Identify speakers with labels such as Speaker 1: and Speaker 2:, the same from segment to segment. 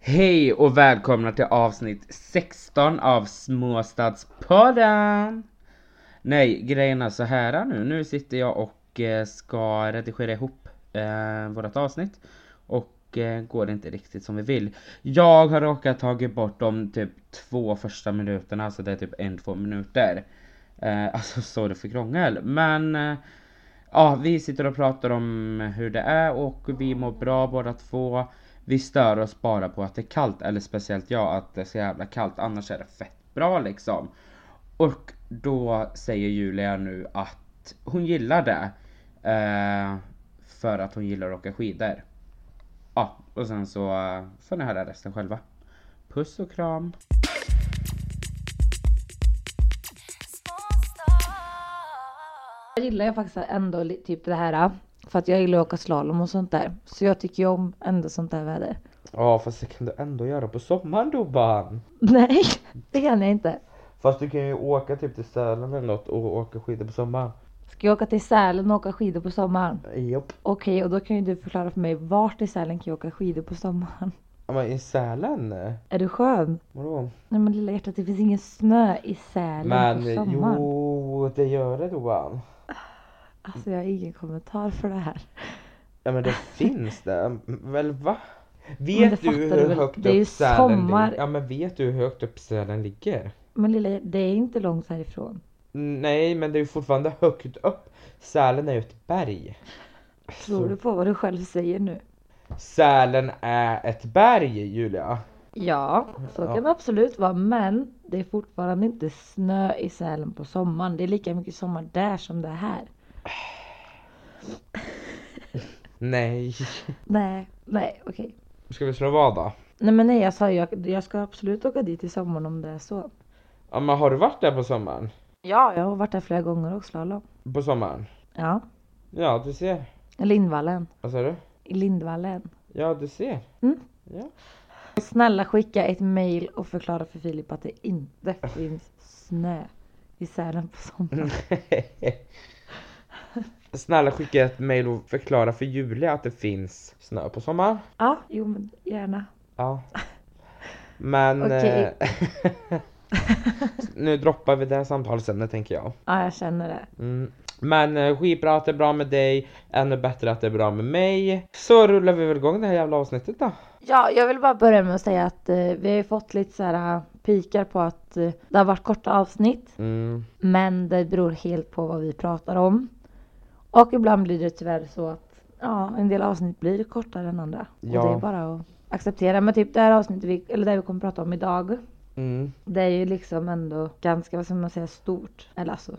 Speaker 1: Hej och välkomna till avsnitt 16 av Småstadspodden! Nej, grejen är så här nu. Nu sitter jag och eh, ska redigera ihop eh, vårt avsnitt. Och eh, går det inte riktigt som vi vill. Jag har råkat tagit bort de typ två första minuterna, så det är typ en, två minuter. Eh, alltså sorry för krångel, men eh, Ja, vi sitter och pratar om hur det är och vi mår bra båda två. Vi stör oss bara på att det är kallt, eller speciellt jag att det är så jävla kallt, annars är det fett bra liksom. Och då säger Julia nu att hon gillar det. Eh, för att hon gillar att åka skidor. Ja, och sen så eh, får ni höra resten själva. Puss och kram!
Speaker 2: Jag gillar jag faktiskt ändå li- typ det här. För att jag gillar att åka slalom och sånt där. Så jag tycker ju om ändå sånt där väder.
Speaker 1: Ja, fast det kan du ändå göra på sommaren Dobban!
Speaker 2: Nej, det kan jag inte.
Speaker 1: Fast du kan ju åka typ till Sälen eller något och åka skidor på sommaren.
Speaker 2: Ska jag åka till Sälen och åka skidor på sommaren?
Speaker 1: Japp.
Speaker 2: Okej, och då kan ju du förklara för mig vart i Sälen kan jag åka skidor på sommaren?
Speaker 1: Men i Sälen?
Speaker 2: Är du skön?
Speaker 1: Vadå?
Speaker 2: Nej men lilla hjärtat, det finns ingen snö i Sälen på
Speaker 1: Men
Speaker 2: sommaren.
Speaker 1: jo, det gör det Dobban.
Speaker 2: Alltså jag har ingen kommentar för det här.
Speaker 1: Ja men det finns det. Väl va?
Speaker 2: Men det
Speaker 1: Vet du
Speaker 2: fattar
Speaker 1: hur
Speaker 2: du väl?
Speaker 1: högt
Speaker 2: Det är ju
Speaker 1: upp Sälen
Speaker 2: sommar.
Speaker 1: ligger? Ja men vet du hur högt upp Sälen ligger?
Speaker 2: Men lilla hjärtat, det är inte långt härifrån.
Speaker 1: Nej men det är ju fortfarande högt upp. Sälen är ju ett berg.
Speaker 2: Tror du på vad du själv säger nu?
Speaker 1: Sälen är ett berg Julia.
Speaker 2: Ja, så kan det absolut vara. Men det är fortfarande inte snö i Sälen på sommaren. Det är lika mycket sommar där som det är här.
Speaker 1: Nej.
Speaker 2: Nej, nej, okej.
Speaker 1: Ska vi slå vad då?
Speaker 2: Nej men nej, jag sa ju, jag, jag ska absolut åka dit i sommar om det är så.
Speaker 1: Ja men har du varit där på sommaren?
Speaker 2: Ja, jag har varit där flera gånger och slalom.
Speaker 1: På sommaren?
Speaker 2: Ja,
Speaker 1: Ja du ser.
Speaker 2: i Lindvallen.
Speaker 1: Vad sa du?
Speaker 2: I Lindvallen.
Speaker 1: Ja du ser.
Speaker 2: Snälla skicka ett mail och förklara för Filip att det inte finns snö i Sälen på sommaren.
Speaker 1: Snälla skicka ett mail och förklara för Julia att det finns snö på sommaren.
Speaker 2: Ja, jo men gärna.
Speaker 1: Ja. Men...
Speaker 2: Okej.
Speaker 1: Eh, nu droppar vi det här samtalsämnet tänker jag.
Speaker 2: Ja, jag känner det.
Speaker 1: Mm. Men eh, skitbra att det är bra med dig, ännu bättre att det är bra med mig. Så rullar vi väl igång det här jävla avsnittet då.
Speaker 2: Ja, jag vill bara börja med att säga att eh, vi har ju fått lite så här eh, pikar på att eh, det har varit korta avsnitt.
Speaker 1: Mm.
Speaker 2: Men det beror helt på vad vi pratar om. Och ibland blir det tyvärr så att ja, en del avsnitt blir kortare än andra.
Speaker 1: Ja.
Speaker 2: Och det är bara att acceptera. Men typ det här avsnittet, vi, eller det vi kommer prata om idag.
Speaker 1: Mm.
Speaker 2: Det är ju liksom ändå ganska, vad ska man säga, stort. Eller alltså.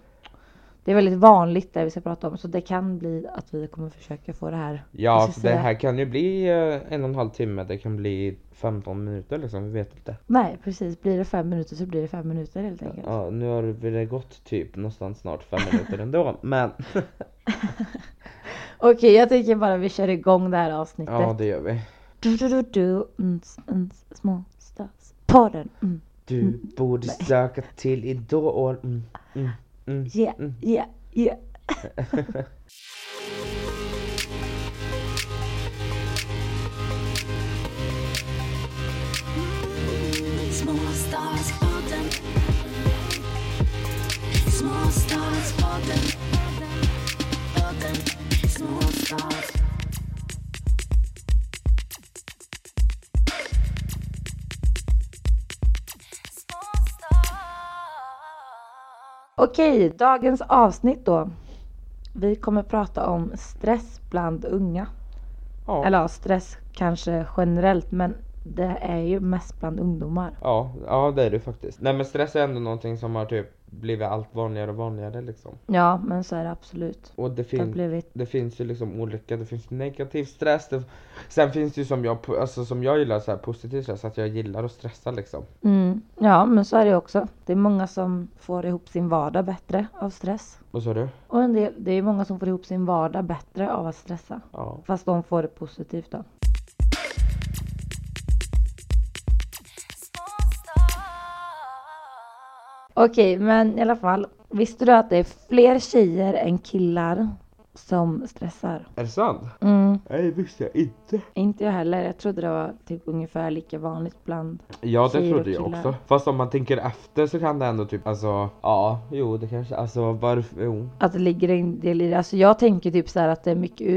Speaker 2: Det är väldigt vanligt det vi ska prata om. Så det kan bli att vi kommer försöka få det här.
Speaker 1: Ja,
Speaker 2: vad ska jag
Speaker 1: alltså det
Speaker 2: säga?
Speaker 1: här kan ju bli eh, en och en halv timme, det kan bli 15 minuter liksom, vi vet inte.
Speaker 2: Nej precis, blir det fem minuter så blir det fem minuter helt enkelt.
Speaker 1: Ja, nu har det gått typ någonstans snart fem minuter ändå, men
Speaker 2: Okej, jag tänker bara vi kör igång det här avsnittet.
Speaker 1: ja det gör vi.
Speaker 2: Du, du, du, du, uns, uns, småstadspodden. Mm.
Speaker 1: Du borde söka till Idol. Mm, mm, mm.
Speaker 2: Yeah, yeah, yeah.
Speaker 3: Småstadspodden Småstadspodden Podden Småstads
Speaker 2: Okej, dagens avsnitt då. Vi kommer prata om stress bland unga.
Speaker 1: Ja,
Speaker 2: Eller ja, stress kanske generellt men det är ju mest bland ungdomar.
Speaker 1: ja, ja det är du faktiskt. Nej men stress är ändå någonting som har typ blivit allt vanligare och vanligare liksom.
Speaker 2: Ja, men så är det absolut.
Speaker 1: Och det,
Speaker 2: Det har
Speaker 1: fin-
Speaker 2: blivit.
Speaker 1: det finns ju liksom olika, det finns negativ stress. Det... Sen finns det ju som jag, po- alltså, som jag gillar så här positiv stress, att jag gillar att stressa liksom.
Speaker 2: Mm. Ja, men så är det också. Det är många som får ihop sin vardag bättre av stress.
Speaker 1: Vad sa du?
Speaker 2: Och en del, det är många som får ihop sin vardag bättre av att stressa.
Speaker 1: Ja.
Speaker 2: Fast de får det positivt då. Okej, men i alla fall. Visste du att det är fler tjejer än killar som stressar.
Speaker 1: Är det sant?
Speaker 2: Mm,
Speaker 1: Nej, visste jag inte.
Speaker 2: inte jag heller. Jag trodde det var typ ungefär lika vanligt bland
Speaker 1: Ja, det
Speaker 2: Tjejer och
Speaker 1: trodde jag
Speaker 2: killar.
Speaker 1: också. Fast om man tänker efter så kan det ändå typ, alltså, ja, jo, det kanske, alltså varför, jo.
Speaker 2: att det ligger en del i det. Alltså jag tänker typ så här att det är mycket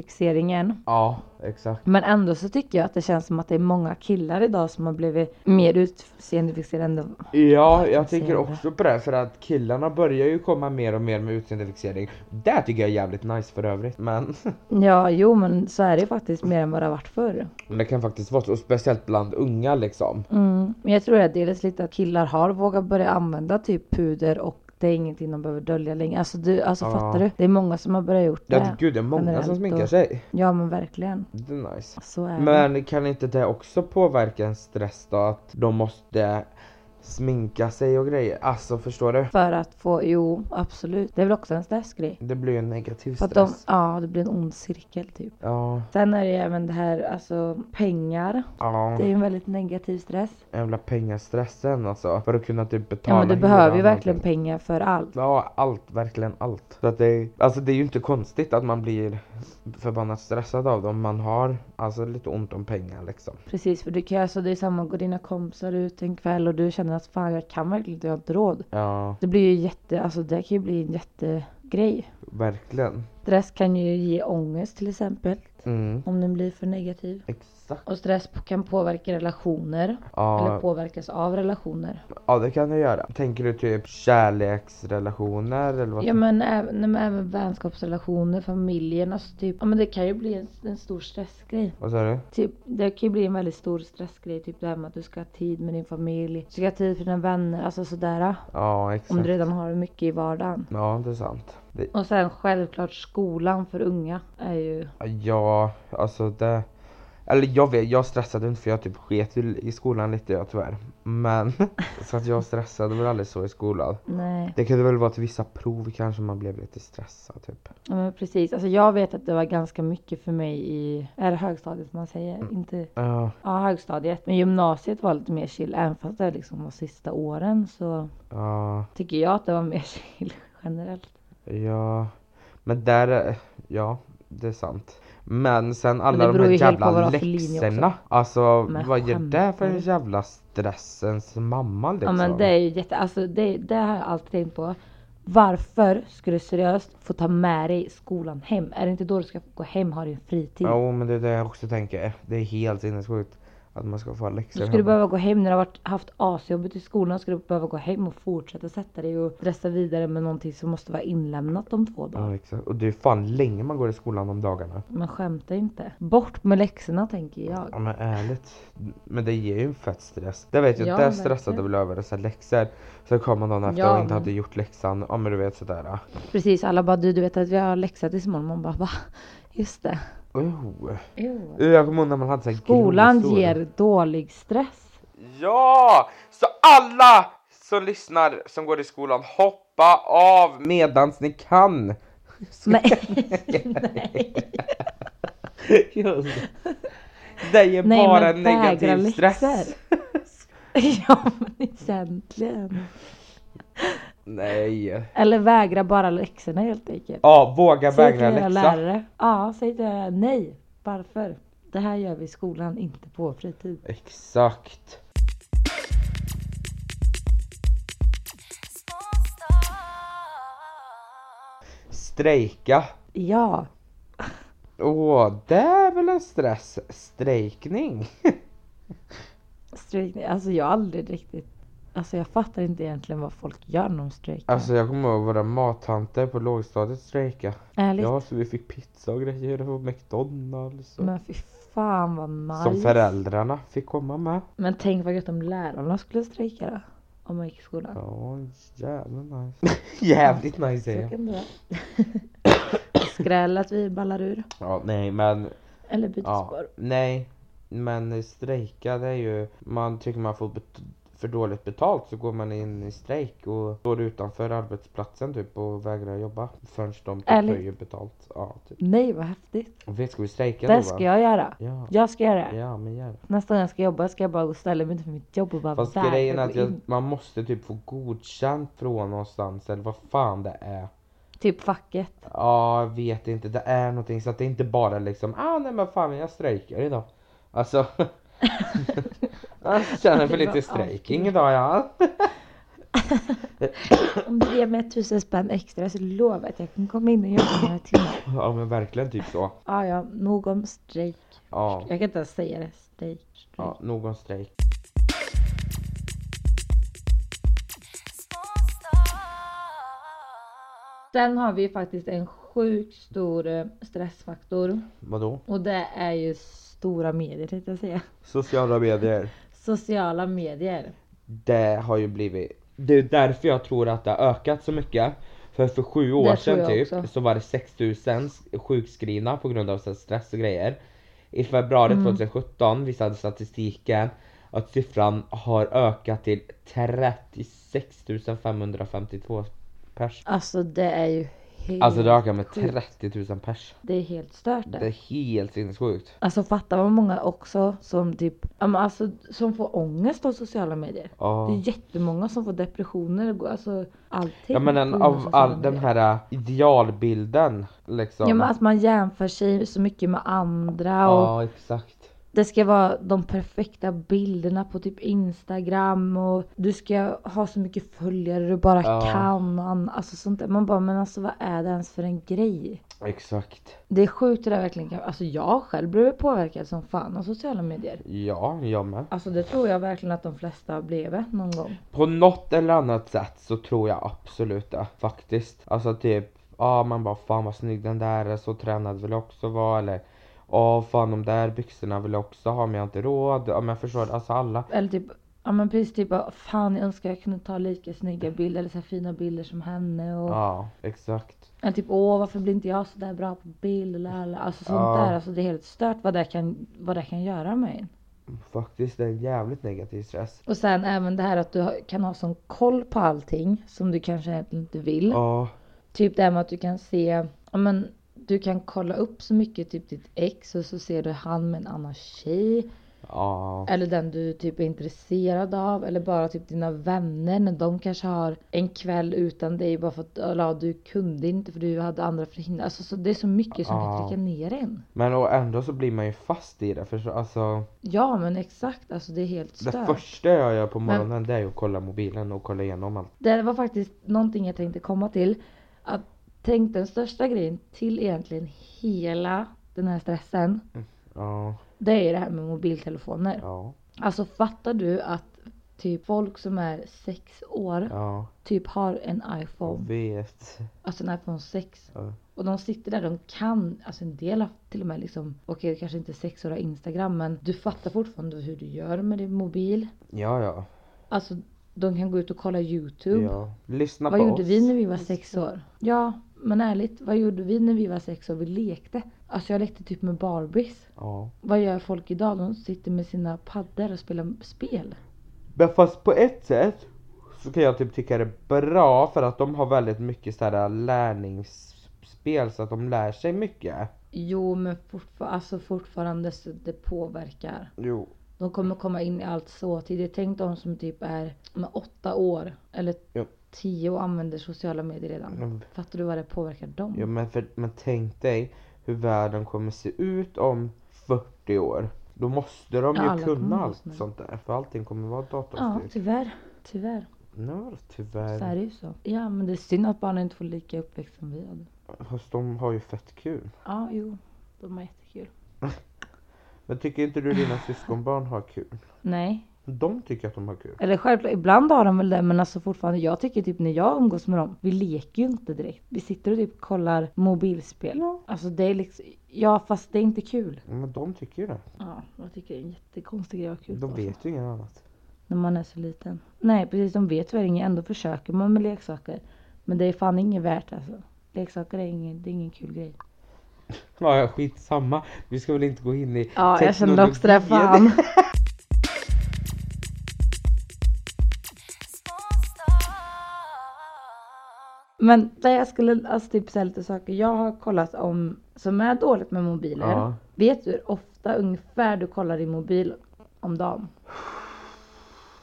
Speaker 2: utseendefixeringen.
Speaker 1: Ja, exakt.
Speaker 2: Men ändå så tycker jag att det känns som att det är många killar idag som har blivit mer utseendefixerade än
Speaker 1: Ja, jag
Speaker 2: ser
Speaker 1: tänker
Speaker 2: det.
Speaker 1: också på det här, för att killarna börjar ju komma mer och mer med utseendefixering. Det tycker jag är jävligt nice för övrigt, men
Speaker 2: Ja, jo men så är det ju faktiskt mer än vad det har varit förr.
Speaker 1: men det kan faktiskt vara så, och speciellt bland unga liksom.
Speaker 2: Mm. Men jag tror att dels lite att killar har vågat börja använda typ puder och det är ingenting de behöver dölja längre. Alltså, du, alltså
Speaker 1: Ja.
Speaker 2: fattar du? Det är många som har börjat gjort
Speaker 1: Ja,
Speaker 2: det.
Speaker 1: gud, det är många
Speaker 2: generellt
Speaker 1: som
Speaker 2: och-
Speaker 1: sminkar sig.
Speaker 2: Ja men verkligen.
Speaker 1: Det är nice.
Speaker 2: Så är det.
Speaker 1: Men kan inte det också påverka en stress då? Att de måste sminka sig och grejer? Alltså förstår du?
Speaker 2: För att få, jo absolut. Det är väl också en stressgrej.
Speaker 1: Det blir ju en negativ
Speaker 2: För
Speaker 1: stress.
Speaker 2: att de, ja det blir en ond cirkel typ.
Speaker 1: Ja,
Speaker 2: Sen är det ju även det här, alltså pengar.
Speaker 1: ja.
Speaker 2: Det är ju en väldigt negativ stress.
Speaker 1: Jävla pengastressen alltså. För att kunna typ betala
Speaker 2: Ja men du
Speaker 1: hyran
Speaker 2: behöver ju
Speaker 1: och
Speaker 2: verkligen
Speaker 1: allting.
Speaker 2: pengar för allt.
Speaker 1: Ja, allt, verkligen allt. Så att det, är- alltså det är ju inte konstigt att man blir förbannat stressad av dem. Man har alltså lite ont om pengar liksom.
Speaker 2: Precis för du kan ju, alltså det är samma, går dina kompisar ut en kväll och du känner att fan jag kan verkligen inte, jag har inte råd.
Speaker 1: Ja,
Speaker 2: Det blir ju jätte, alltså det kan ju bli en jättegrej.
Speaker 1: verkligen.
Speaker 2: Stress kan ju ge ångest till exempel.
Speaker 1: Mm,
Speaker 2: Om den blir för negativ.
Speaker 1: exakt.
Speaker 2: Och stress p- kan påverka relationer. Eller
Speaker 1: Ja,
Speaker 2: påverkas av relationer.
Speaker 1: ja, det kan det göra. Tänker du typ kärleksrelationer eller vad?
Speaker 2: Ja men även, nej, men även vänskapsrelationer, familjen. Alltså typ, ja men det kan ju bli en, en stor stressgrej.
Speaker 1: Vad sa du?
Speaker 2: Typ, det kan ju bli en väldigt stor stressgrej. Typ det här med att du ska ha tid med din familj. Du ska ha tid för dina vänner. Alltså sådär.
Speaker 1: Ja,
Speaker 2: Om
Speaker 1: exakt.
Speaker 2: du redan har mycket i vardagen.
Speaker 1: Ja, det är sant. Det,
Speaker 2: Och sen självklart skolan för unga är ju
Speaker 1: ja, alltså det... Eller jag vet, jag stressade inte för jag typ sket i i skolan lite jag tyvärr. Men, så att jag stressade väl aldrig så i skolan.
Speaker 2: Nej,
Speaker 1: Det kunde väl vara till vissa prov kanske man blev lite stressad typ.
Speaker 2: ja, men precis. Alltså jag vet att det var ganska mycket för mig i, är det högstadiet man säger? Inte,
Speaker 1: Ja,
Speaker 2: ja högstadiet. Men gymnasiet var lite mer chill. Även fast det liksom var sista åren så
Speaker 1: ja,
Speaker 2: tycker jag att det var mer chill generellt.
Speaker 1: ja. Men där, är- ja, det är sant. Men sen
Speaker 2: det
Speaker 1: alla de
Speaker 2: beror
Speaker 1: här
Speaker 2: ju helt på
Speaker 1: jävla
Speaker 2: vad det var för linje också.
Speaker 1: läxorna. Alltså
Speaker 2: Men
Speaker 1: vad är det för
Speaker 2: skämtar
Speaker 1: en
Speaker 2: du?
Speaker 1: jävla stressens mamma liksom?
Speaker 2: Ja men det är ju jätte, alltså det, det har jag alltid tänkt på. Varför ska du seriöst få ta med dig skolan hem? Är det inte då du ska få gå hem och ha din fritid?
Speaker 1: Jo men det är det jag också tänker. Det är helt sinnessjukt att man ska få ha läxor
Speaker 2: Då ska du
Speaker 1: hemma.
Speaker 2: behöva gå hem när du har varit, haft asjobbet i skolan. Ska du behöva gå hem och fortsätta sätta dig och stressa vidare med någonting som måste vara inlämnat om två dagar.
Speaker 1: Ja exakt. Och det är fan länge man går i skolan om dagarna.
Speaker 2: Men skämta inte. Bort med läxorna tänker
Speaker 1: Ja
Speaker 2: jag.
Speaker 1: men ärligt. Men det ger ju en fett stress. Det vet jag,
Speaker 2: Ja,
Speaker 1: där
Speaker 2: verkligen.
Speaker 1: stressade väl över dessa läxor. Så kom man dagen efter
Speaker 2: Ja,
Speaker 1: och inte
Speaker 2: men-
Speaker 1: hade gjort läxan. Ja men du vet sådär.
Speaker 2: Precis, alla bara du, du vet att vi har läxa tills imorgon. Man bara va? Just det.
Speaker 1: Oh. Jag kommer ihåg när man hade såhär
Speaker 2: Skolan
Speaker 1: glosor.
Speaker 2: ger dålig stress.
Speaker 1: Ja! Så alla som lyssnar som går i skolan, hoppa av medans ni kan!
Speaker 2: Nej. Nej.
Speaker 1: Just det. Det ger
Speaker 2: Nej,
Speaker 1: bara
Speaker 2: men
Speaker 1: en
Speaker 2: vägra
Speaker 1: negativ
Speaker 2: läxor.
Speaker 1: stress.
Speaker 2: ja men egentligen.
Speaker 1: Nej.
Speaker 2: Eller vägra bara läxorna helt enkelt.
Speaker 1: Ja, våga
Speaker 2: Säg till
Speaker 1: vägra
Speaker 2: era
Speaker 1: läxa.
Speaker 2: lärare. Ja, säg till era lärare. Nej, varför? Det här gör vi i skolan, inte på fritid.
Speaker 1: Exakt. Strejka.
Speaker 2: Ja,
Speaker 1: Åh, det är väl en stress? Strejkning?
Speaker 2: strejk. Alltså jag har aldrig riktigt... Alltså jag fattar inte egentligen vad folk gör när de strejkar.
Speaker 1: Alltså jag kommer ihåg våra mattanter på lågstadiet strejka.
Speaker 2: Ärligt.
Speaker 1: Ja, så vi fick pizza och grejer på McDonalds. Och...
Speaker 2: Men fy fan vad nice.
Speaker 1: Typ. Som föräldrarna fick komma med.
Speaker 2: Men tänk vad gött om lärarna skulle strejka då. Om man gick i skolan.
Speaker 1: Ja, jävla nice. Jävligt nice säger jag.
Speaker 2: Så kan det vara. Skräll att vi ballar ur.
Speaker 1: Ja, nej men
Speaker 2: Eller byter
Speaker 1: Ja,
Speaker 2: spår.
Speaker 1: nej, men strejka det är ju, man tycker man får bet- för dåligt betalt så går man in i strejk och står utanför arbetsplatsen typ och vägrar jobba förrän de typ
Speaker 2: Ärligt?
Speaker 1: höjer betalt. Ja, typ.
Speaker 2: Nej vad häftigt.
Speaker 1: Och vi ska vi strejka
Speaker 2: Det
Speaker 1: då va?
Speaker 2: ska jag göra.
Speaker 1: Ja.
Speaker 2: Jag ska göra det.
Speaker 1: Ja men gör det.
Speaker 2: Nästa gång jag ska jobba ska jag bara gå och ställa mig utanför mitt jobb och bara
Speaker 1: Fast
Speaker 2: vägra
Speaker 1: grejen är
Speaker 2: gå
Speaker 1: att jag,
Speaker 2: in.
Speaker 1: man måste typ få godkänt från någonstans eller vad fan det är.
Speaker 2: Typ facket.
Speaker 1: Ja, jag vet inte. Det är någonting så att det inte bara liksom, ah nej men fan jag strejkar idag. Alltså. jag känner för lite strejking idag ja.
Speaker 2: Om du ger mig tusen spänn extra så lovar jag att jag kan komma in och jobba några timmar.
Speaker 1: Ja men verkligen typ så.
Speaker 2: Ja, ja, nog om strejk.
Speaker 1: Ja,
Speaker 2: Jag kan inte ens säga det. Strejk. strejk.
Speaker 1: ja någon strejk.
Speaker 2: Sen har vi faktiskt en sjukt stor eh, stressfaktor
Speaker 1: Vadå?
Speaker 2: och det är ju stora medier tänkte jag säga.
Speaker 1: Sociala medier.
Speaker 2: Sociala medier.
Speaker 1: Det har ju blivit. Det är därför jag tror att det har ökat så mycket. För för sju år
Speaker 2: tror
Speaker 1: sedan
Speaker 2: jag
Speaker 1: typ
Speaker 2: också.
Speaker 1: så var det 6000 sjukskrivna på grund av så här stress och grejer. I februari
Speaker 2: Mm.
Speaker 1: 2017 visade statistiken att siffran har ökat till 36 552 pers.
Speaker 2: Alltså det är ju helt,
Speaker 1: Alltså det har ökat med 30 000 pers.
Speaker 2: det är helt stört
Speaker 1: Det är
Speaker 2: det.
Speaker 1: helt sinnessjukt.
Speaker 2: Alltså fatta vad många också som typ, ja, men alltså som får ångest av sociala medier.
Speaker 1: Ja.
Speaker 2: Det är jättemånga som får depressioner, går- alltså allting.
Speaker 1: Ja men den,
Speaker 2: på grund
Speaker 1: av
Speaker 2: sociala
Speaker 1: all den
Speaker 2: medier.
Speaker 1: här äh, idealbilden liksom.
Speaker 2: Ja men alltså, att man jämför sig så mycket med andra och
Speaker 1: ja exakt.
Speaker 2: Det ska vara de perfekta bilderna på typ instagram och du ska ha så mycket följare du bara
Speaker 1: Ja.
Speaker 2: kan. och ann- Alltså sånt där. Man bara men alltså vad är det ens för en grej?
Speaker 1: Exakt.
Speaker 2: Det är sjukt det där verkligen kan Alltså jag själv blev påverkad som fan av sociala medier.
Speaker 1: Ja, jag med.
Speaker 2: Alltså det tror jag verkligen att de flesta blev någon gång.
Speaker 1: På något eller annat sätt så tror jag absolut det faktiskt. Alltså typ, ja man bara fan vad snygg den där är, så tränad vill jag också vara eller Ja fan de där byxorna vill jag också ha men jag har inte råd. Ja men förstår du, alltså alla.
Speaker 2: Eller typ, ja men precis typ bara, fan jag önskar jag kunde ta lika snygga bilder eller så här fina bilder som henne. Och,
Speaker 1: Ja exakt.
Speaker 2: Eller typ åh varför blir inte jag så där bra på bild? Eller, alltså sånt
Speaker 1: Ja.
Speaker 2: där. Alltså det är helt stört vad det kan, vad det kan göra med en.
Speaker 1: Faktiskt det är en jävligt negativ stress.
Speaker 2: Och sen även det här att du har- kan ha sån koll på allting som du kanske egentligen inte vill.
Speaker 1: Ja,
Speaker 2: Typ det här med att du kan se, ja men du kan kolla upp så mycket, typ ditt ex och så ser du han med en annan tjej.
Speaker 1: ja,
Speaker 2: Eller den du typ är intresserad av. Eller bara typ dina vänner när de kanske har en kväll utan dig bara för att eller, ja, du kunde inte för du hade andra förhinder. Alltså så det är så mycket som
Speaker 1: Ja.
Speaker 2: kan trycka ner en.
Speaker 1: men och ändå så blir man ju fast i det. För alltså,
Speaker 2: Ja men exakt, alltså det är helt
Speaker 1: det
Speaker 2: stört.
Speaker 1: första jag gör på
Speaker 2: Men-
Speaker 1: morgonen det är ju att kolla mobilen och kolla igenom allt.
Speaker 2: Det var faktiskt någonting jag tänkte komma till. Att tänk den största grejen till egentligen hela den här stressen.
Speaker 1: Ja,
Speaker 2: Det är ju det här med mobiltelefoner.
Speaker 1: ja,
Speaker 2: Alltså fattar du att typ folk som är sex år
Speaker 1: ja,
Speaker 2: typ har en
Speaker 1: jag
Speaker 2: iPhone.
Speaker 1: vet.
Speaker 2: Alltså en iPhone 6.
Speaker 1: Ja.
Speaker 2: Och de sitter där, de kan, alltså en del har till och med liksom, okej kanske inte sex år har Instagram men du fattar fortfarande hur du gör med din mobil.
Speaker 1: Ja, ja.
Speaker 2: Alltså de kan gå ut och kolla YouTube.
Speaker 1: Ja. Lyssna
Speaker 2: Vad
Speaker 1: på
Speaker 2: gjorde
Speaker 1: oss.
Speaker 2: vi när vi var sex år? Ja, men ärligt, vad gjorde vi när vi var sex år? Vi lekte. Alltså jag lekte typ med Barbies.
Speaker 1: Ja.
Speaker 2: Vad gör folk idag? De sitter med sina paddor och spelar spel.
Speaker 1: Men fast på ett sätt så kan jag typ tycka det är bra för att de har väldigt mycket sådär lärningsspel så att de lär sig mycket.
Speaker 2: Jo, men fortfar- alltså fortfarande så det påverkar.
Speaker 1: Jo.
Speaker 2: De kommer komma in i allt så tidigt. Tänk de som typ är med åtta år eller
Speaker 1: Ja.
Speaker 2: tio och använder sociala medier redan.
Speaker 1: Mm.
Speaker 2: Fattar du vad det påverkar dem?
Speaker 1: Jo men, för, men tänk dig hur världen kommer se ut om 40 år. Då måste de
Speaker 2: Ja, alla
Speaker 1: ju
Speaker 2: kommer
Speaker 1: kunna
Speaker 2: vara
Speaker 1: allt
Speaker 2: såna.
Speaker 1: sånt där. För allting kommer vara
Speaker 2: ja,
Speaker 1: datorstyrt.
Speaker 2: tyvärr. Tyvärr.
Speaker 1: Ja, tyvärr.
Speaker 2: Så är det ju så. Ja, men det är synd att barnen inte får lika uppväxt som vi hade.
Speaker 1: Fast de har ju fett kul.
Speaker 2: Ja, jo. De är jättekul.
Speaker 1: Men tycker inte du dina syskonbarn har kul?
Speaker 2: Nej.
Speaker 1: De tycker att de har kul.
Speaker 2: Eller självklart, ibland har de väl det men alltså fortfarande jag tycker typ när jag umgås med dem, vi leker ju inte direkt. Vi sitter och typ kollar mobilspel. Alltså det är liksom, ja fast det är inte kul.
Speaker 1: Men de tycker ju det.
Speaker 2: Ja, jag tycker det är en jättekonstig grej att ha kul
Speaker 1: De
Speaker 2: på,
Speaker 1: vet ju inget annat.
Speaker 2: När man är så liten. Nej precis, de vet väl inget, ändå försöker man med leksaker. Men det är fan inget värt alltså. Leksaker är ingen, det är ingen kul grej.
Speaker 1: Ja, ja, skitsamma. Vi ska väl inte gå in i
Speaker 2: Ja, jag känner också det.
Speaker 1: teknologin.
Speaker 2: Fan. Men det jag skulle alltså typ säga lite saker jag har kollat om som är dåligt med mobiler.
Speaker 1: Ja.
Speaker 2: Vet du hur ofta ungefär du kollar din mobil om dagen?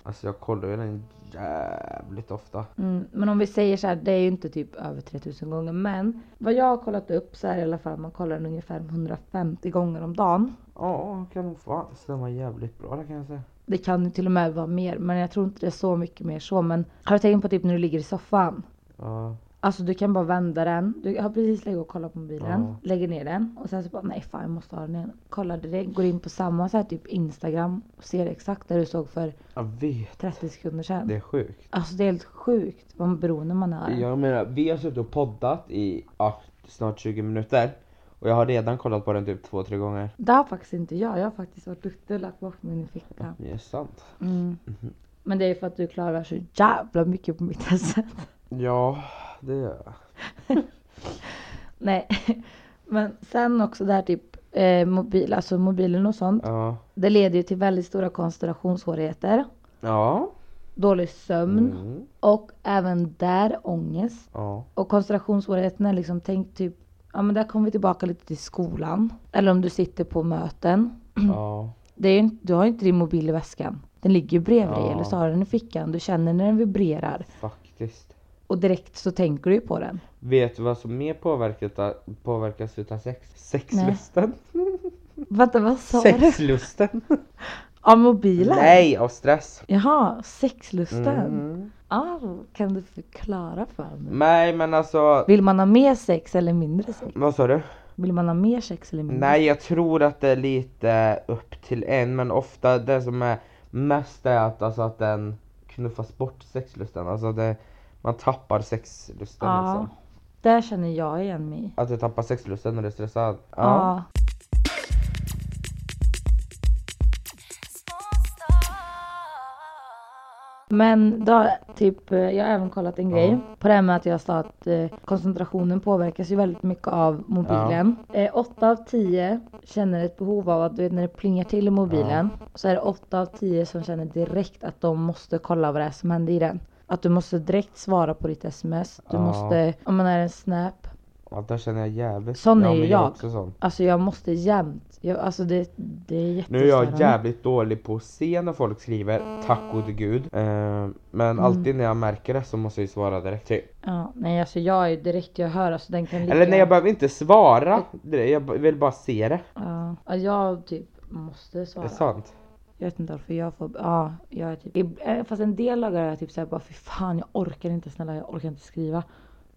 Speaker 1: Alltså jag kollar ju den jävligt ofta.
Speaker 2: Mm, men om vi säger så här, det är ju inte typ över 3000 gånger. Men vad jag har kollat upp så är det i alla fall att man kollar den ungefär 150 gånger om dagen.
Speaker 1: Ja, kan nog fan stämma jävligt bra det kan jag säga.
Speaker 2: Det kan ju till och med vara mer, men jag tror inte det är så mycket mer så. Men har du tänkt på typ när du ligger i soffan?
Speaker 1: Ja.
Speaker 2: Alltså du kan bara vända den. Du har precis legat och kollat på mobilen.
Speaker 1: Ja.
Speaker 2: Lägger ner den. Och sen så bara nej fan jag måste ha den igen. Kollade det. Går in på samma så här typ Instagram. Och ser exakt där du såg för
Speaker 1: Jag vet.
Speaker 2: 30 sekunder sedan.
Speaker 1: Det är sjukt.
Speaker 2: Alltså det är helt sjukt vad beroende man är.
Speaker 1: Jag menar, vi har suttit och poddat i ja, snart 20 minuter och jag har redan kollat på den typ två, tre gånger.
Speaker 2: Det har faktiskt inte jag. Jag har faktiskt varit duktig och lagt bort min i fickan.
Speaker 1: Det är sant.
Speaker 2: Mm.
Speaker 1: Mhm.
Speaker 2: Men det är för att du klarar så jävla mycket på mitt sätt.
Speaker 1: Ja, det gör jag.
Speaker 2: Nej. Men sen också det här typ eh, mobil, alltså mobilen och sånt.
Speaker 1: Ja.
Speaker 2: Det leder ju till väldigt stora koncentrationssvårigheter.
Speaker 1: Ja.
Speaker 2: Dålig sömn.
Speaker 1: Mm.
Speaker 2: Och även där ångest.
Speaker 1: Ja.
Speaker 2: Och koncentrationssvårigheterna är liksom tänk typ, ja men där kommer vi tillbaka lite till skolan. Eller om du sitter på möten.
Speaker 1: Ja.
Speaker 2: Det är, ju inte- du har ju inte din mobil i väskan. Den ligger ju bredvid dig
Speaker 1: Ja.
Speaker 2: eller så har du den i fickan. Du känner när den vibrerar.
Speaker 1: Faktiskt.
Speaker 2: Och direkt så tänker du ju på den.
Speaker 1: Vet du vad som mer påverkat, påverkas utav sex? Sexlusten?
Speaker 2: Vänta vad sa du?
Speaker 1: Sexlusten?
Speaker 2: Av mobilen?
Speaker 1: Nej, av stress.
Speaker 2: Jaha, sexlusten.
Speaker 1: Mm.
Speaker 2: Ah, kan du förklara för mig?
Speaker 1: Nej men alltså,
Speaker 2: Vill man ha mer sex eller mindre sex?
Speaker 1: vad sa du?
Speaker 2: Vill man ha mer sex eller mindre?
Speaker 1: Nej jag tror att det är lite upp till en men ofta det som är mest är att, alltså, att den knuffas bort sexlusten. Alltså det, man tappar sexlusten
Speaker 2: Ja.
Speaker 1: liksom.
Speaker 2: Där känner jag igen mig.
Speaker 1: Att du tappar sexlusten när du är stressad. Ja.
Speaker 2: Ja. Men då, typ, eh, jag har även kollat en grej på det här med att jag sa att eh, koncentrationen påverkas ju väldigt mycket av mobilen. Eh, 8 av 10 känner ett behov av att du vet när det plingar till i mobilen så är det 8 av 10 som känner direkt att de måste kolla vad det är som händer i den. Att du måste direkt svara på ditt sms. Du
Speaker 1: Ja.
Speaker 2: måste, om man är en snap.
Speaker 1: Ja, där känner jag jävligt.
Speaker 2: Sån
Speaker 1: ja,
Speaker 2: är ju
Speaker 1: men
Speaker 2: jag.
Speaker 1: också sån.
Speaker 2: Alltså jag måste jämt. Jag, alltså det, det Mm. är
Speaker 1: Nu är jag
Speaker 2: jättestörande.
Speaker 1: jävligt dålig på att se när folk skriver, tack gode gud. Eh, men
Speaker 2: Mm.
Speaker 1: alltid när jag märker det så måste jag ju svara direkt. Typ.
Speaker 2: Ja, nej alltså jag är ju direkt, jag hör alltså den kan ligga.
Speaker 1: Eller nej jag behöver inte svara,
Speaker 2: Mm.
Speaker 1: Det- jag b- vill bara se det.
Speaker 2: Ja, ja, jag typ måste
Speaker 1: Det är
Speaker 2: svara.
Speaker 1: sant.
Speaker 2: Jag vet inte varför jag får, ja, jag är typ, ib- eh, fast en del dagar är jag typ såhär bara fy fan jag orkar inte snälla jag orkar inte skriva.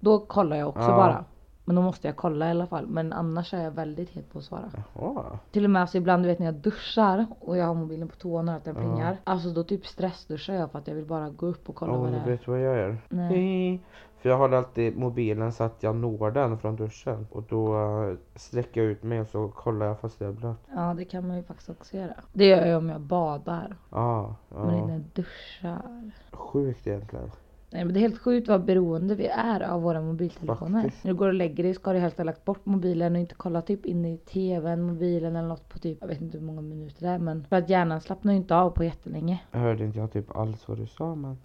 Speaker 2: Då kollar jag också
Speaker 1: Ja.
Speaker 2: bara. Men då måste jag kolla i alla fall. Men annars är jag väldigt het på att svara.
Speaker 1: Ja.
Speaker 2: Till och med alltså ibland du vet när jag duschar och jag har mobilen på toan och att den plingar. Alltså då typ stressduschar jag för att jag vill bara gå upp och kolla
Speaker 1: Åh,
Speaker 2: vad det
Speaker 1: du
Speaker 2: är.
Speaker 1: vet vad jag gör?
Speaker 2: Nej.
Speaker 1: Hej. För jag håller alltid mobilen så att jag når den från duschen och då eh, sträcker jag ut mig och så kollar jag fast jag är blöt.
Speaker 2: Ja det kan man ju faktiskt också göra. Det gör jag om jag badar.
Speaker 1: Ja,
Speaker 2: Men
Speaker 1: ja.
Speaker 2: inte när jag duschar.
Speaker 1: Sjukt egentligen.
Speaker 2: Nej men det är helt sjukt vad beroende vi är av våra mobiltelefoner.
Speaker 1: Faktiskt.
Speaker 2: När du går och lägger dig ska du helst ha lagt bort mobilen och inte kolla typ in i tvn, mobilen eller något på typ, jag vet inte hur många minuter det är men för att hjärnan slappnar ju inte av på jättelänge.
Speaker 1: Jag hörde inte jag typ alls vad du sa men.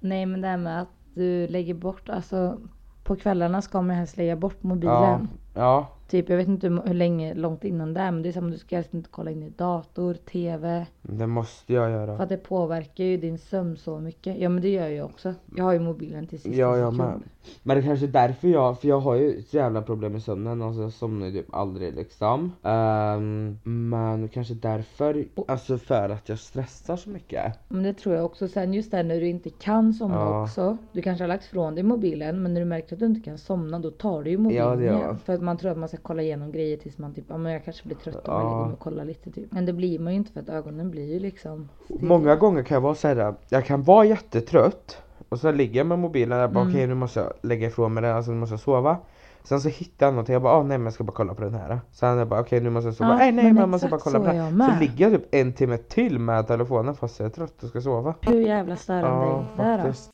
Speaker 2: Nej men det här med att du lägger bort, alltså på kvällarna ska man ju helst lägga bort mobilen.
Speaker 1: Ja, ja,
Speaker 2: Typ jag vet inte hur, hur länge, långt innan det är men det är som du ska helst inte kolla in i dator, tv.
Speaker 1: det måste jag göra.
Speaker 2: För att det påverkar ju din sömn så mycket. Ja men det gör jag också. Jag har ju mobilen till sista
Speaker 1: Ja, jag
Speaker 2: sekund.
Speaker 1: med. Men det kanske är därför jag, för jag har ju ett jävla problem med sömnen, alltså jag somnar ju typ aldrig liksom. Ehm, men kanske därför, alltså för att jag stressar så mycket.
Speaker 2: Men det tror jag också. Sen just där när du inte kan somna
Speaker 1: Ja.
Speaker 2: också. Du kanske har lagt ifrån dig mobilen men när du märker att du inte kan somna då tar du ju mobilen
Speaker 1: Ja, det gör jag.
Speaker 2: igen. För att man tror att man ska kolla igenom grejer tills man typ, ja men jag kanske blir trött om jag
Speaker 1: Ja.
Speaker 2: lägger mig och kollar lite typ. Men det blir man ju inte för att ögonen blir ju liksom stilla.
Speaker 1: Många gånger kan jag vara såhär, jag kan vara jättetrött och så ligger jag med mobilen och jag bara
Speaker 2: Mm.
Speaker 1: okej nu måste jag lägga ifrån mig den, alltså nu måste jag sova. Sen så hittar jag någonting, jag bara ah, nej men jag ska bara kolla på den här. Sen jag bara okej nu måste jag sova,
Speaker 2: Ja,
Speaker 1: nej nej
Speaker 2: men
Speaker 1: men jag måste bara
Speaker 2: exakt
Speaker 1: kolla på
Speaker 2: så
Speaker 1: den
Speaker 2: är jag
Speaker 1: här.
Speaker 2: med.
Speaker 1: Så ligger jag typ en timme till med telefonen fast jag är trött och ska sova.
Speaker 2: Hur jävla störande är
Speaker 1: Ja
Speaker 2: inte det då?
Speaker 1: faktiskt.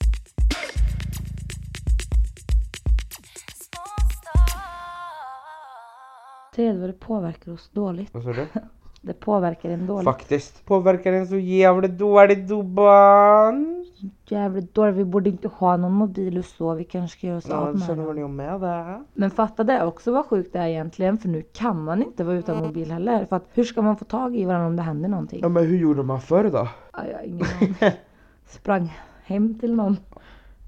Speaker 2: Se vad det påverkar oss dåligt.
Speaker 1: Vad sa du?
Speaker 2: Det påverkar en dåligt.
Speaker 1: Faktiskt. Påverkar den så jävligt dåligt Duban.
Speaker 2: jävla dåligt. Vi borde inte ha någon mobil och så. Vi kanske ska göra oss
Speaker 1: Ja,
Speaker 2: av
Speaker 1: det
Speaker 2: med
Speaker 1: känner
Speaker 2: den.
Speaker 1: väl Alltså, jag med där.
Speaker 2: Men fatta det också vad sjukt det är egentligen. För nu kan man inte vara utan mobil heller. För att hur ska man få tag i varandra om det händer någonting?
Speaker 1: Mm. Ja men hur gjorde man förr då?
Speaker 2: Ja, jag har ingen aning. Sprang hem till någon.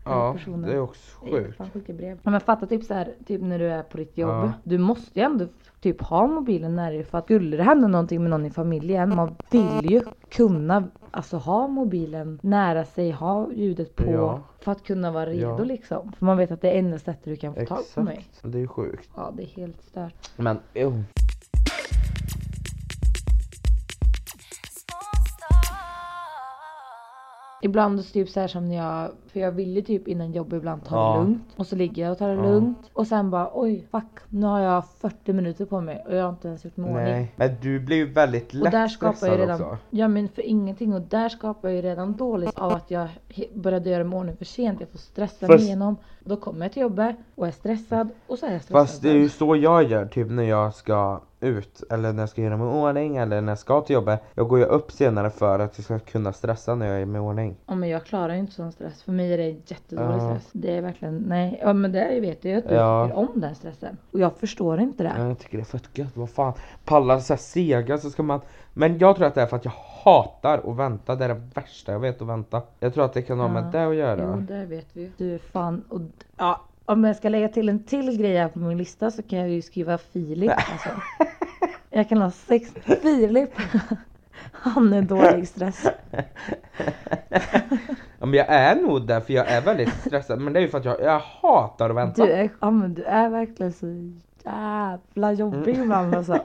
Speaker 1: Ja,
Speaker 2: personen.
Speaker 1: det är också
Speaker 2: Det är
Speaker 1: sjukt.
Speaker 2: fan sjuka brev. Ja, men fatta typ så här, typ när du är på ditt jobb.
Speaker 1: Ja.
Speaker 2: Du måste ju ändå typ ha mobilen nära dig för att skulle det hända någonting med någon i familjen. Man vill ju kunna alltså ha mobilen nära sig, ha ljudet på.
Speaker 1: Ja.
Speaker 2: För att kunna vara redo
Speaker 1: Ja.
Speaker 2: liksom. För man vet att det är enda sättet du kan få tag på mig.
Speaker 1: Exakt, det är sjukt.
Speaker 2: Ja det är helt stört.
Speaker 1: Men oh.
Speaker 2: Ibland så typ så här som när jag, för jag vill ju typ innan jobb ibland ta
Speaker 1: Ja.
Speaker 2: det lugnt. Och så ligger jag och tar det
Speaker 1: Ja.
Speaker 2: lugnt. Och sen bara oj fuck nu har jag 40 minuter på mig och jag har inte ens gjort mig i ordning.
Speaker 1: nej. Men du blir ju väldigt lätt
Speaker 2: Och där skapar jag ju
Speaker 1: stressad
Speaker 2: redan,
Speaker 1: också.
Speaker 2: ja men för ingenting och där skapar jag ju redan dåligt av att jag he- började göra mig i ordning för sent. Jag får stressa mig
Speaker 1: Fast-
Speaker 2: igenom. Då kommer jag till jobbet och är stressad och så är jag stressad.
Speaker 1: Fast det är ju så jag gör typ när jag ska ut eller när jag ska göra mig i ordning eller när jag ska till jobbet. Jag går ju upp senare för att jag ska kunna stressa när jag är med i ordning.
Speaker 2: Ja men jag klarar ju inte sån stress. För mig är det jättedålig
Speaker 1: Ja.
Speaker 2: stress. Det är verkligen, nej. Ja men det vet jag ju att du
Speaker 1: Ja.
Speaker 2: tycker om den stressen. Och jag förstår inte det.
Speaker 1: Ja, Jag tycker det är fett gött, vad fan. Pallar så här sega så ska man... Men jag tror att det är för att jag hatar att vänta, det är det värsta jag vet att vänta. Jag tror att det kan ha med
Speaker 2: Ja. Mm.
Speaker 1: det att
Speaker 2: Jo
Speaker 1: göra.
Speaker 2: det vet vi ju. Du är fan och ja. Om jag ska lägga till en till grej här på min lista så kan jag ju skriva Filip alltså. Jag kan ha sex Filip. Han är dålig stress.
Speaker 1: Ja, men jag är nog där för jag är väldigt stressad men det är ju för att jag, jag hatar att vänta.
Speaker 2: Du är, ja, men du är verkligen så jävla jobbig
Speaker 1: Mm.
Speaker 2: ibland alltså.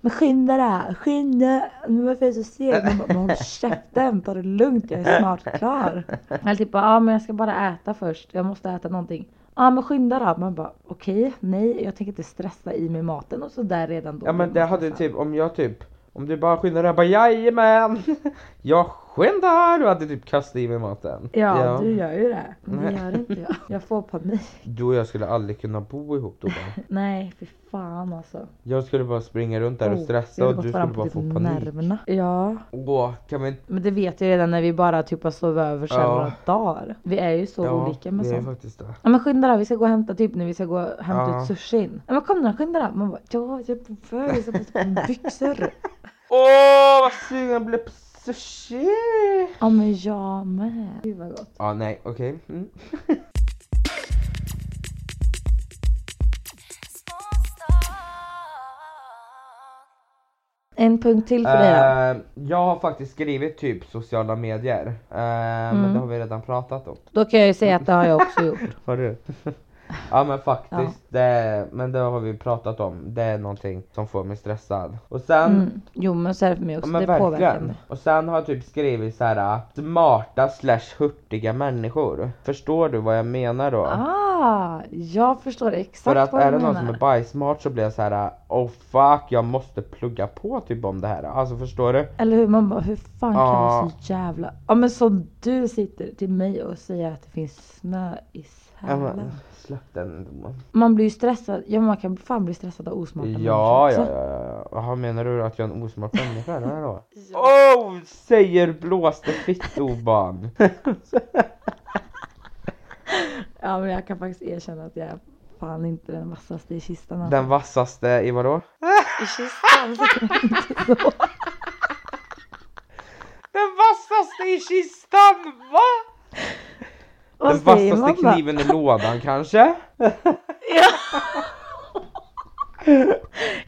Speaker 2: Men skynda dig, skynda! Nu varför är jag så seg? Man bara, men håll käften, ta det lugnt, jag är snart klar. Eller typ bara, ja men jag ska bara äta först, jag måste äta någonting. Ja men skynda då! Man bara, okej, nej jag tänker inte stressa i mig maten och sådär redan då.
Speaker 1: Ja men det hade typ, om jag typ, om du bara skyndar dig, jag bara jajamän! Jag skyndar! Du hade typ kastat i mig maten.
Speaker 2: Ja, du gör ju det. Men det
Speaker 1: Nej.
Speaker 2: gör inte jag. Jag får panik.
Speaker 1: Du och jag skulle aldrig kunna bo ihop då bara.
Speaker 2: Nej, fy fan alltså.
Speaker 1: Jag skulle bara springa runt där och
Speaker 2: Oh,
Speaker 1: stressa
Speaker 2: vi hade
Speaker 1: och
Speaker 2: gått
Speaker 1: du skulle
Speaker 2: varandra på
Speaker 1: bara
Speaker 2: typ
Speaker 1: få panik.
Speaker 2: nerverna. Ja.
Speaker 1: Åh, kan vi inte...
Speaker 2: Men det vet jag redan när vi bara typ har sovit över sen
Speaker 1: Ja.
Speaker 2: några dagar. Vi är ju så olika med
Speaker 1: det är
Speaker 2: sånt.
Speaker 1: faktiskt det.
Speaker 2: Ja men skynda dig, vi ska gå och hämta typ när vi ska gå och hämta
Speaker 1: Ja.
Speaker 2: ut sushin. Ja men kom då, skynda dig. Man bara ja, jag är på för, jag ska på typ byxor.
Speaker 1: Åh, vad sugen jag blev på sushi!
Speaker 2: Ja men jag med. Gud vad gott.
Speaker 1: Ja, nej, okej. Mm.
Speaker 2: En punkt till för dig då.
Speaker 1: Eh, jag har faktiskt skrivit typ sociala medier. Eh,
Speaker 2: Mm.
Speaker 1: Men det har vi redan pratat om.
Speaker 2: Då kan jag ju säga att det har jag också gjort.
Speaker 1: Har du? ja men faktiskt, Det, men det har vi pratat om. Det är någonting som får mig stressad. Och sen,
Speaker 2: Mm. Jo men så är det för mig
Speaker 1: ja,
Speaker 2: också.
Speaker 1: men
Speaker 2: det påverkar
Speaker 1: verkligen.
Speaker 2: mig.
Speaker 1: Och sen har jag typ skrivit så här smarta slash hurtiga människor. Förstår du vad jag menar då?
Speaker 2: Ah, jag förstår
Speaker 1: För
Speaker 2: exakt
Speaker 1: att
Speaker 2: vad
Speaker 1: är
Speaker 2: du
Speaker 1: det någon
Speaker 2: menar.
Speaker 1: som är bajsmart så blir jag så här, oh fuck jag måste plugga på typ om det här. Alltså förstår du?
Speaker 2: Eller hur? Man bara, hur fan kan
Speaker 1: Ja.
Speaker 2: du så jävla... Ja men som du sitter till mig och säger att det finns snö i
Speaker 1: Ja,
Speaker 2: Sälen.
Speaker 1: men, Släpp den då.
Speaker 2: Man blir ju stressad. Ja men man kan fan bli stressad av osmarta
Speaker 1: Ja, ja,
Speaker 2: människor
Speaker 1: ja,
Speaker 2: också.
Speaker 1: ja. Jaha, menar du att jag är en osmart människa eller då? Oh, säger blåste fittoban.
Speaker 2: ja men jag kan faktiskt erkänna att jag är fan inte den vassaste i kistan alltså.
Speaker 1: Den vassaste i vadå?
Speaker 2: I kistan?
Speaker 1: Den vassaste i kistan, va?
Speaker 2: Vad
Speaker 1: Den
Speaker 2: säger
Speaker 1: vassaste
Speaker 2: man då?
Speaker 1: kniven i lådan kanske?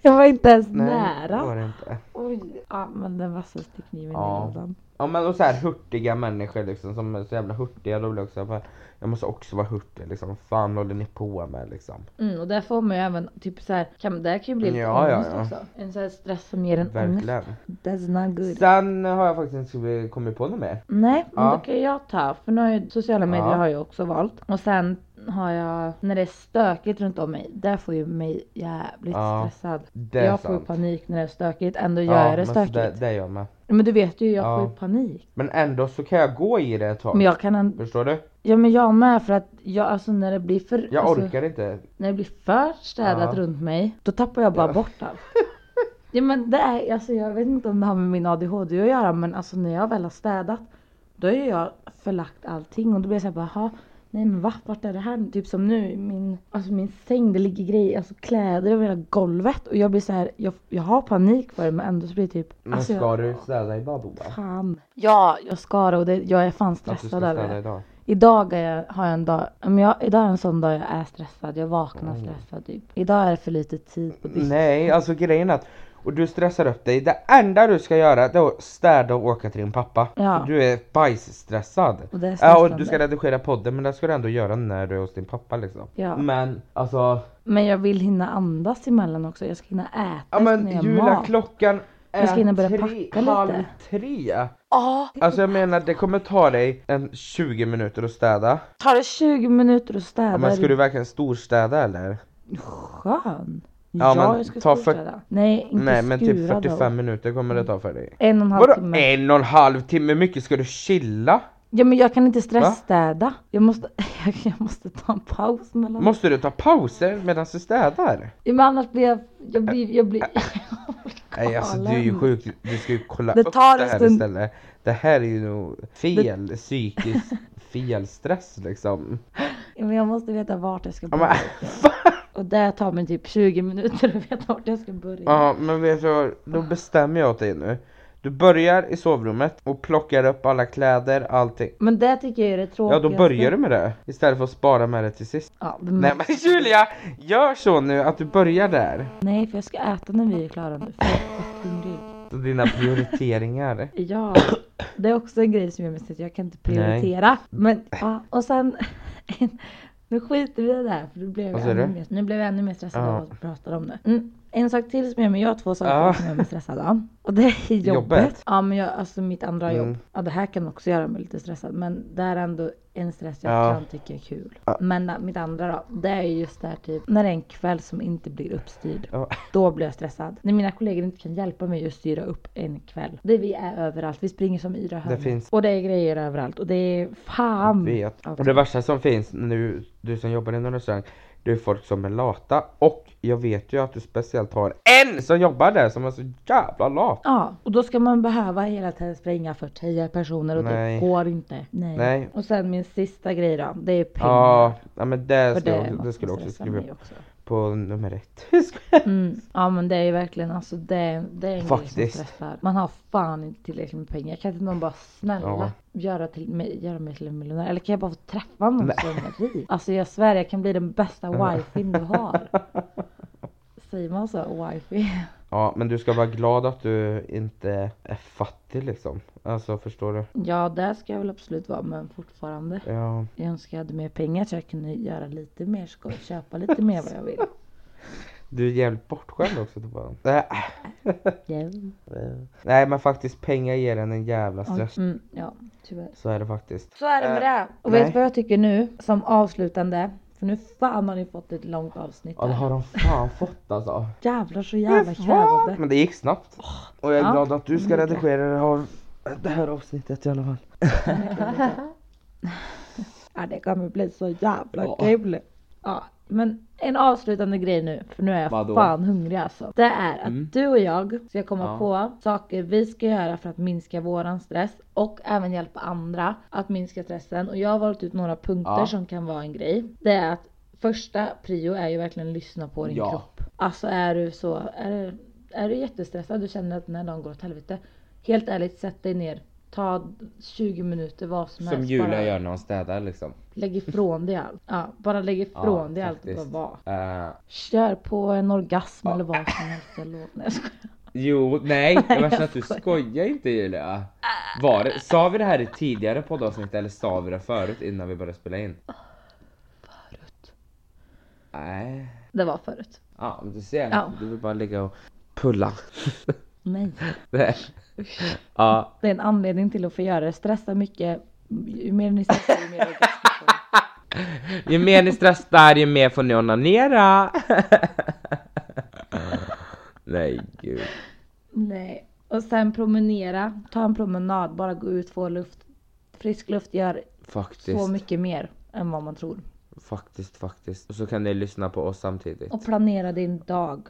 Speaker 2: Jag var inte ens
Speaker 1: det var
Speaker 2: nära.
Speaker 1: det inte.
Speaker 2: Oj. Ja men den vassaste kniven
Speaker 1: Ja.
Speaker 2: i lådan.
Speaker 1: Ja men och så här hurtiga människor liksom som är så jävla hurtiga, då blir jag också bara, jag måste också vara hurtig liksom, fan håller ni på med liksom?
Speaker 2: Mm, och där får man ju även typ så här, kan, det här kan ju bli lite
Speaker 1: Ja, ja,
Speaker 2: ångest
Speaker 1: ja.
Speaker 2: också. En sån här stress som ger en ångest.
Speaker 1: Verkligen.
Speaker 2: That's not good.
Speaker 1: Sen har jag faktiskt inte skrivit- kommit på något mer.
Speaker 2: Nej, men
Speaker 1: Ja.
Speaker 2: då kan jag ta. För nu har jag, sociala medier
Speaker 1: Ja.
Speaker 2: har jag också valt. Och sen har jag, när det är stökigt runt om mig, där får ju mig jävligt
Speaker 1: Ja,
Speaker 2: stressad.
Speaker 1: Det är
Speaker 2: Jag får ju
Speaker 1: sant.
Speaker 2: panik när det är stökigt, ändå gör jag det
Speaker 1: men så
Speaker 2: stökigt.
Speaker 1: det, det är jag med.
Speaker 2: Men du vet ju, jag
Speaker 1: Ja.
Speaker 2: får ju panik.
Speaker 1: Men ändå så kan jag gå i det ett tag.
Speaker 2: Men jag kan ändå,
Speaker 1: Förstår du?
Speaker 2: ja men jag med för att jag, alltså när det blir för,
Speaker 1: Jag
Speaker 2: alltså,
Speaker 1: orkar inte.
Speaker 2: när det blir för städat
Speaker 1: Ja.
Speaker 2: runt mig, då tappar jag bara
Speaker 1: Ja.
Speaker 2: bort allt. Ja men det är, alltså jag vet inte om det har med min ADHD att göra men alltså när jag väl har städat Då har ju jag förlagt allting och då blir jag såhär bara, "Jaha, nej men va? Vart är det här? Typ som nu, min, alltså min säng, det ligger grejer, alltså kläder över hela golvet och jag blir så här, jag, jag har panik för det men ändå så blir det typ,
Speaker 1: Men
Speaker 2: alltså
Speaker 1: ska
Speaker 2: jag,
Speaker 1: du städa idag Boa?
Speaker 2: fan. Ja, jag ska det och det, jag är fan
Speaker 1: Att du ska
Speaker 2: stressad över
Speaker 1: städa
Speaker 2: det.
Speaker 1: idag?
Speaker 2: Idag är jag, har jag en dag, men jag, idag är en sån dag jag är stressad, jag vaknar stressad typ. Idag är det för lite tid på dygnet.
Speaker 1: Mm. Nej, alltså grejen är att och du stressar upp dig. Det enda du ska göra det är att städa och åka till din pappa.
Speaker 2: Ja.
Speaker 1: Du är bajsstressad.
Speaker 2: Och det är
Speaker 1: ja, och
Speaker 2: stressande.
Speaker 1: du ska redigera podden men det ska du ändå göra när du är hos din pappa liksom.
Speaker 2: Ja.
Speaker 1: Men alltså,
Speaker 2: Men jag vill hinna andas emellan också, jag ska hinna äta,
Speaker 1: ja
Speaker 2: jag ska
Speaker 1: men
Speaker 2: hinna
Speaker 1: Julia
Speaker 2: mat.
Speaker 1: klockan är
Speaker 2: Jag ska hinna börja
Speaker 1: tre,
Speaker 2: packa lite.
Speaker 1: halv tre.
Speaker 2: Ja,
Speaker 1: Alltså jag menar det kommer ta dig en 20 minuter att städa.
Speaker 2: tar det 20 minuter att städa?
Speaker 1: Ja, men ska du verkligen storstäda eller?
Speaker 2: Skön!
Speaker 1: Ja, men
Speaker 2: jag ska
Speaker 1: ta för-
Speaker 2: storstäda. Nej, inte
Speaker 1: Nej men typ
Speaker 2: skura
Speaker 1: 45
Speaker 2: då.
Speaker 1: minuter kommer det ta för dig.
Speaker 2: En och en halv
Speaker 1: Vadå
Speaker 2: timme.
Speaker 1: en och en halv timme? Hur mycket ska du chilla?
Speaker 2: Ja men jag kan inte
Speaker 1: Va?
Speaker 2: stressstäda. Jag måste, jag måste ta en paus mellan.
Speaker 1: Måste du ta pauser medan du städar?
Speaker 2: Ja, men annars blir jag, jag blir, jag blir
Speaker 1: Nej alltså du är ju
Speaker 2: galen.
Speaker 1: sjuk, du ska ju kolla
Speaker 2: Det
Speaker 1: upp
Speaker 2: tar liksom-
Speaker 1: det
Speaker 2: en
Speaker 1: här
Speaker 2: stund.
Speaker 1: istället. Det här är ju nog fel psykisk fel stress liksom.
Speaker 2: Ja, Men jag måste veta vart jag ska
Speaker 1: Ja men,
Speaker 2: börja. Och det tar mig typ 20 minuter att veta vart jag ska börja.
Speaker 1: ja, men vet du vad, då bestämmer jag åt dig nu. Du börjar i sovrummet och plockar upp alla kläder, allting.
Speaker 2: Men det tycker jag är det
Speaker 1: Ja
Speaker 2: tråkigaste.
Speaker 1: då börjar du med det istället för att spara med det till sist.
Speaker 2: Ja,
Speaker 1: Nej
Speaker 2: men...
Speaker 1: men Julia! Gör så nu att du börjar där.
Speaker 2: Nej för jag ska äta när vi är klara nu. För jag är skithungrig.
Speaker 1: Så Dina prioriteringar.
Speaker 2: Ja, det är också en grej som gör mig stressad. Jag kan inte
Speaker 1: Nej.
Speaker 2: prioritera. Men ja, och sen. nu skiter vi i det här för nu blev
Speaker 1: Vad
Speaker 2: jag,
Speaker 1: säger
Speaker 2: ännu
Speaker 1: du?
Speaker 2: mer, nu blev jag ännu mer stressad
Speaker 1: Ja.
Speaker 2: av att prata om det. Mm. En sak till som gör mig, jag har två saker
Speaker 1: Ja.
Speaker 2: som gör mig stressad av. Och det är jobbet.
Speaker 1: Jobbet?
Speaker 2: Ja men jag, alltså mitt andra
Speaker 1: Mm.
Speaker 2: jobb. Ja det här kan också göra mig lite stressad men det är ändå en stress jag
Speaker 1: Ja.
Speaker 2: kan tycka är kul. Men äh, mitt andra då, det är just det här typ när det är en kväll som inte blir uppstyrd.
Speaker 1: Ja.
Speaker 2: Då blir jag stressad. När mina kollegor inte kan hjälpa mig att styra upp en kväll. Det vi är överallt, vi springer som yra hörn.
Speaker 1: finns-
Speaker 2: Och det är grejer överallt och det är fan. alltså.
Speaker 1: vet.
Speaker 2: Okej.
Speaker 1: Och det värsta som finns nu, du som jobbar inom restaurang, det är folk som är lata. Och jag vet ju att du speciellt har en som jobbar där som är så jävla lat.
Speaker 2: Ja, och då ska man behöva hela tiden springa för 10 personer och
Speaker 1: Nej.
Speaker 2: det går inte. Nej.
Speaker 1: Nej.
Speaker 2: Och sen min sista grej då, det är pengar.
Speaker 1: Ja, ja men det
Speaker 2: För
Speaker 1: ska,
Speaker 2: det
Speaker 1: jag-
Speaker 2: är något
Speaker 1: det ska du
Speaker 2: som
Speaker 1: också
Speaker 2: stressar
Speaker 1: skriva
Speaker 2: mig
Speaker 1: upp
Speaker 2: också.
Speaker 1: på nummer ett.
Speaker 2: Mm. Ja men det är ju verkligen alltså det, det är en grej
Speaker 1: Faktiskt.
Speaker 2: som stressar. Man har fan inte tillräckligt med pengar. Kan inte någon bara snälla
Speaker 1: Ja.
Speaker 2: göra, till, mig, göra mig till en miljonär? Eller kan jag bara få träffa någon som är rik? Alltså jag svär jag kan bli den bästa wifin du har. Säger man så? Wifi?
Speaker 1: Ja, men du ska vara glad att du inte är fattig liksom. Alltså förstår du?
Speaker 2: Ja det ska jag väl absolut vara men fortfarande.
Speaker 1: Ja,
Speaker 2: Jag önskar jag hade mer pengar så jag kunde göra lite mer skoj. Köpa lite mer vad jag vill.
Speaker 1: du är jävligt bortskämd också Tobbe. Äh,
Speaker 2: Yeah.
Speaker 1: Nej men faktiskt pengar ger en en jävla stress.
Speaker 2: Mm, ja tyvärr.
Speaker 1: Så är det faktiskt.
Speaker 2: Så är det med det. Och
Speaker 1: Eh, nej.
Speaker 2: vet du vad jag tycker nu som avslutande? För nu fan har ni fått ett långt avsnitt.
Speaker 1: Ja det
Speaker 2: här.
Speaker 1: har de fan fått alltså.
Speaker 2: Jävlar så jävla krävande.
Speaker 1: Men det gick snabbt. Och jag är
Speaker 2: Ja.
Speaker 1: glad att du ska
Speaker 2: Mm.
Speaker 1: redigera det här, det här avsnittet i alla fall.
Speaker 2: Ja, det kommer bli så jävla
Speaker 1: Ja.
Speaker 2: kul. Ja, men en avslutande grej nu, för nu är jag
Speaker 1: Vadå? Mm.
Speaker 2: fan hungrig alltså. Det är att du och jag ska komma
Speaker 1: Ja.
Speaker 2: på saker vi ska göra för att minska våran stress och även hjälpa andra att minska stressen. Och jag har valt ut några punkter
Speaker 1: Ja.
Speaker 2: som kan vara en grej. Det är att första prio är ju verkligen lyssna på din
Speaker 1: Ja.
Speaker 2: kropp. Alltså är du så, är du, är du jättestressad, du känner att den här dagen går åt helvete. Helt ärligt, sätt dig ner. Ta 20 minuter, vad som, helst. bara-
Speaker 1: när hon städar liksom.
Speaker 2: Lägg ifrån dig allt. Ja, bara lägg ifrån dig allt och bara vara.
Speaker 4: Eh,
Speaker 1: vara.
Speaker 2: Kör på en orgasm eller vad som helst. Jag lovar. Nej, jag skojar.
Speaker 4: Jo, nej, det
Speaker 2: jag
Speaker 4: värsta är att du skojar inte Julia. Var det, sa vi det här i tidigare poddavsnitt eller sa vi det förut innan vi började spela in?
Speaker 2: Ah, Förut.
Speaker 4: Nej,
Speaker 2: Det var förut.
Speaker 4: ja men du ser,
Speaker 2: Ja.
Speaker 4: du vill bara ligga och pulla.
Speaker 2: Nej.
Speaker 4: Det är- ja,
Speaker 2: Det är en anledning till att få göra det. Stressa mycket. Ju mer ni stressar ju mer orgasm får ni.
Speaker 4: ju mer ni stressar ju mer får ni onanera. nej gud.
Speaker 2: Nej. Och sen promenera. Ta en promenad. Bara gå ut, få luft. Frisk luft gör så
Speaker 4: Faktiskt,
Speaker 2: mycket mer än vad man tror.
Speaker 4: faktiskt, faktiskt. Och så kan ni lyssna på oss samtidigt.
Speaker 2: Och planera din dag.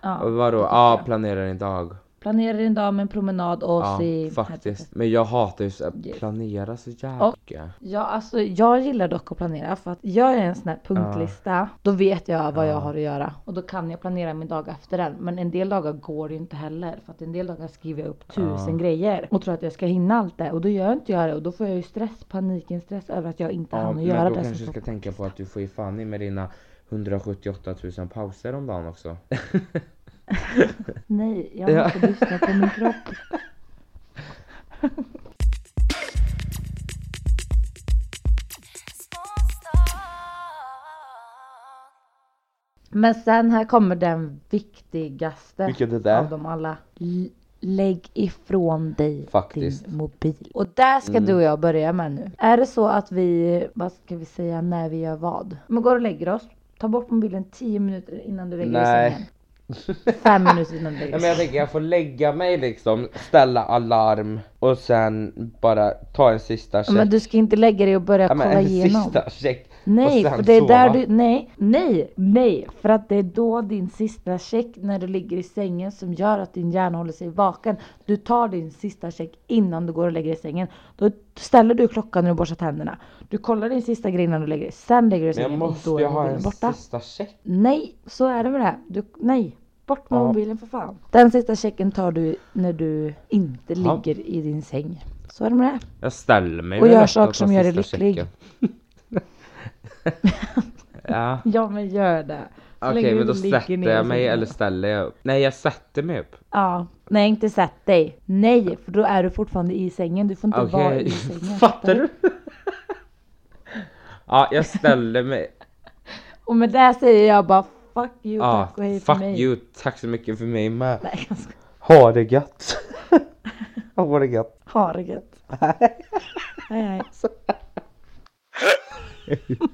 Speaker 2: Ja.
Speaker 4: Och vadå? Ja, planera din dag.
Speaker 2: Planera din dag med en promenad och
Speaker 1: Ja,
Speaker 2: se...
Speaker 1: faktiskt. Men jag hatar ju att
Speaker 2: Yes.
Speaker 1: planera så jävla
Speaker 2: Och-
Speaker 1: mycket.
Speaker 2: Ja, alltså jag gillar dock att planera för att gör jag en sån här punktlista då vet jag vad jag har att göra och då kan jag planera min dag efter den. Men en del dagar går det ju inte heller för att en del dagar skriver jag upp tusen grejer och tror att jag ska hinna allt det och då gör inte jag det och då får jag ju stress, paniken stress över att jag inte
Speaker 1: Ja,
Speaker 2: hann att
Speaker 1: men då
Speaker 2: göra det. som
Speaker 1: kanske du
Speaker 2: står
Speaker 1: ska
Speaker 2: på
Speaker 1: tänka på att du får ju fan i med dina 178 000 pauser om dagen också.
Speaker 2: Nej, jag måste lyssna på min kropp. Men sen här kommer den viktigaste
Speaker 1: Vilket är det?
Speaker 2: av dem alla. L- lägg ifrån dig
Speaker 1: Faktiskt. Mm.
Speaker 2: din mobil. Och där ska du och jag börja med nu. Är det så att vi, vad ska vi säga, när vi gör vad? Men går och lägger oss. Ta bort mobilen 10 minuter innan du lägger dig i
Speaker 1: Nej.
Speaker 2: sängen. Fem minuter innan du lägger
Speaker 1: Ja,
Speaker 2: dig
Speaker 1: men
Speaker 2: i
Speaker 1: jag
Speaker 2: sängen.
Speaker 1: tänker jag får lägga mig liksom, ställa alarm och sen bara ta en sista check.
Speaker 2: Men du ska inte lägga dig och börja
Speaker 1: ja, men
Speaker 2: kolla
Speaker 1: en
Speaker 2: igenom.
Speaker 1: sista check
Speaker 2: Nej,
Speaker 1: och sen
Speaker 2: för det är
Speaker 1: sova.
Speaker 2: där du, nej, nej, nej, för att det är då din sista check när du ligger i sängen som gör att din hjärna håller sig vaken. Du tar din sista check innan du går och lägger dig i sängen. Då ställer du klockan när du borstar tänderna. Du kollar din sista grej innan du lägger dig, sen lägger du dig i
Speaker 1: Men jag
Speaker 2: sängen och
Speaker 1: måste
Speaker 2: då
Speaker 1: ju
Speaker 2: är
Speaker 1: ha en
Speaker 2: mobilen borta.
Speaker 1: sista check.
Speaker 2: Nej, så är det med det här. Du, nej, bort med
Speaker 1: Ja.
Speaker 2: mobilen för fan. Den sista checken tar du när du inte
Speaker 1: Ja.
Speaker 2: ligger i din säng. Så är det med det. här.
Speaker 1: Jag ställer mig
Speaker 2: Och
Speaker 1: väl
Speaker 2: gör
Speaker 1: efter
Speaker 2: saker
Speaker 1: att
Speaker 2: som
Speaker 1: ta
Speaker 2: gör dig
Speaker 1: sista
Speaker 2: lycklig.
Speaker 1: checken. ja.
Speaker 2: Ja men gör det. Så
Speaker 1: Okej
Speaker 2: länge
Speaker 1: men
Speaker 2: du
Speaker 1: då
Speaker 2: ligger
Speaker 1: sätter
Speaker 2: ner i
Speaker 1: jag mig
Speaker 2: sängen.
Speaker 1: eller ställer jag upp? Nej jag sätter mig upp.
Speaker 2: Ja, nej inte sätt dig. Nej, för då är du fortfarande i sängen. Du får inte vara
Speaker 1: Okej,
Speaker 2: i sängen.
Speaker 1: fattar du? ja jag ställer mig.
Speaker 2: Och med det säger jag bara fuck you,
Speaker 1: Ja,
Speaker 2: tack och hej för
Speaker 1: fuck
Speaker 2: mig.
Speaker 1: you, tack så mycket för mig med.
Speaker 2: Nej, jag ska
Speaker 5: Ha det gött! ha det gött!
Speaker 2: ha det gött. hej hej.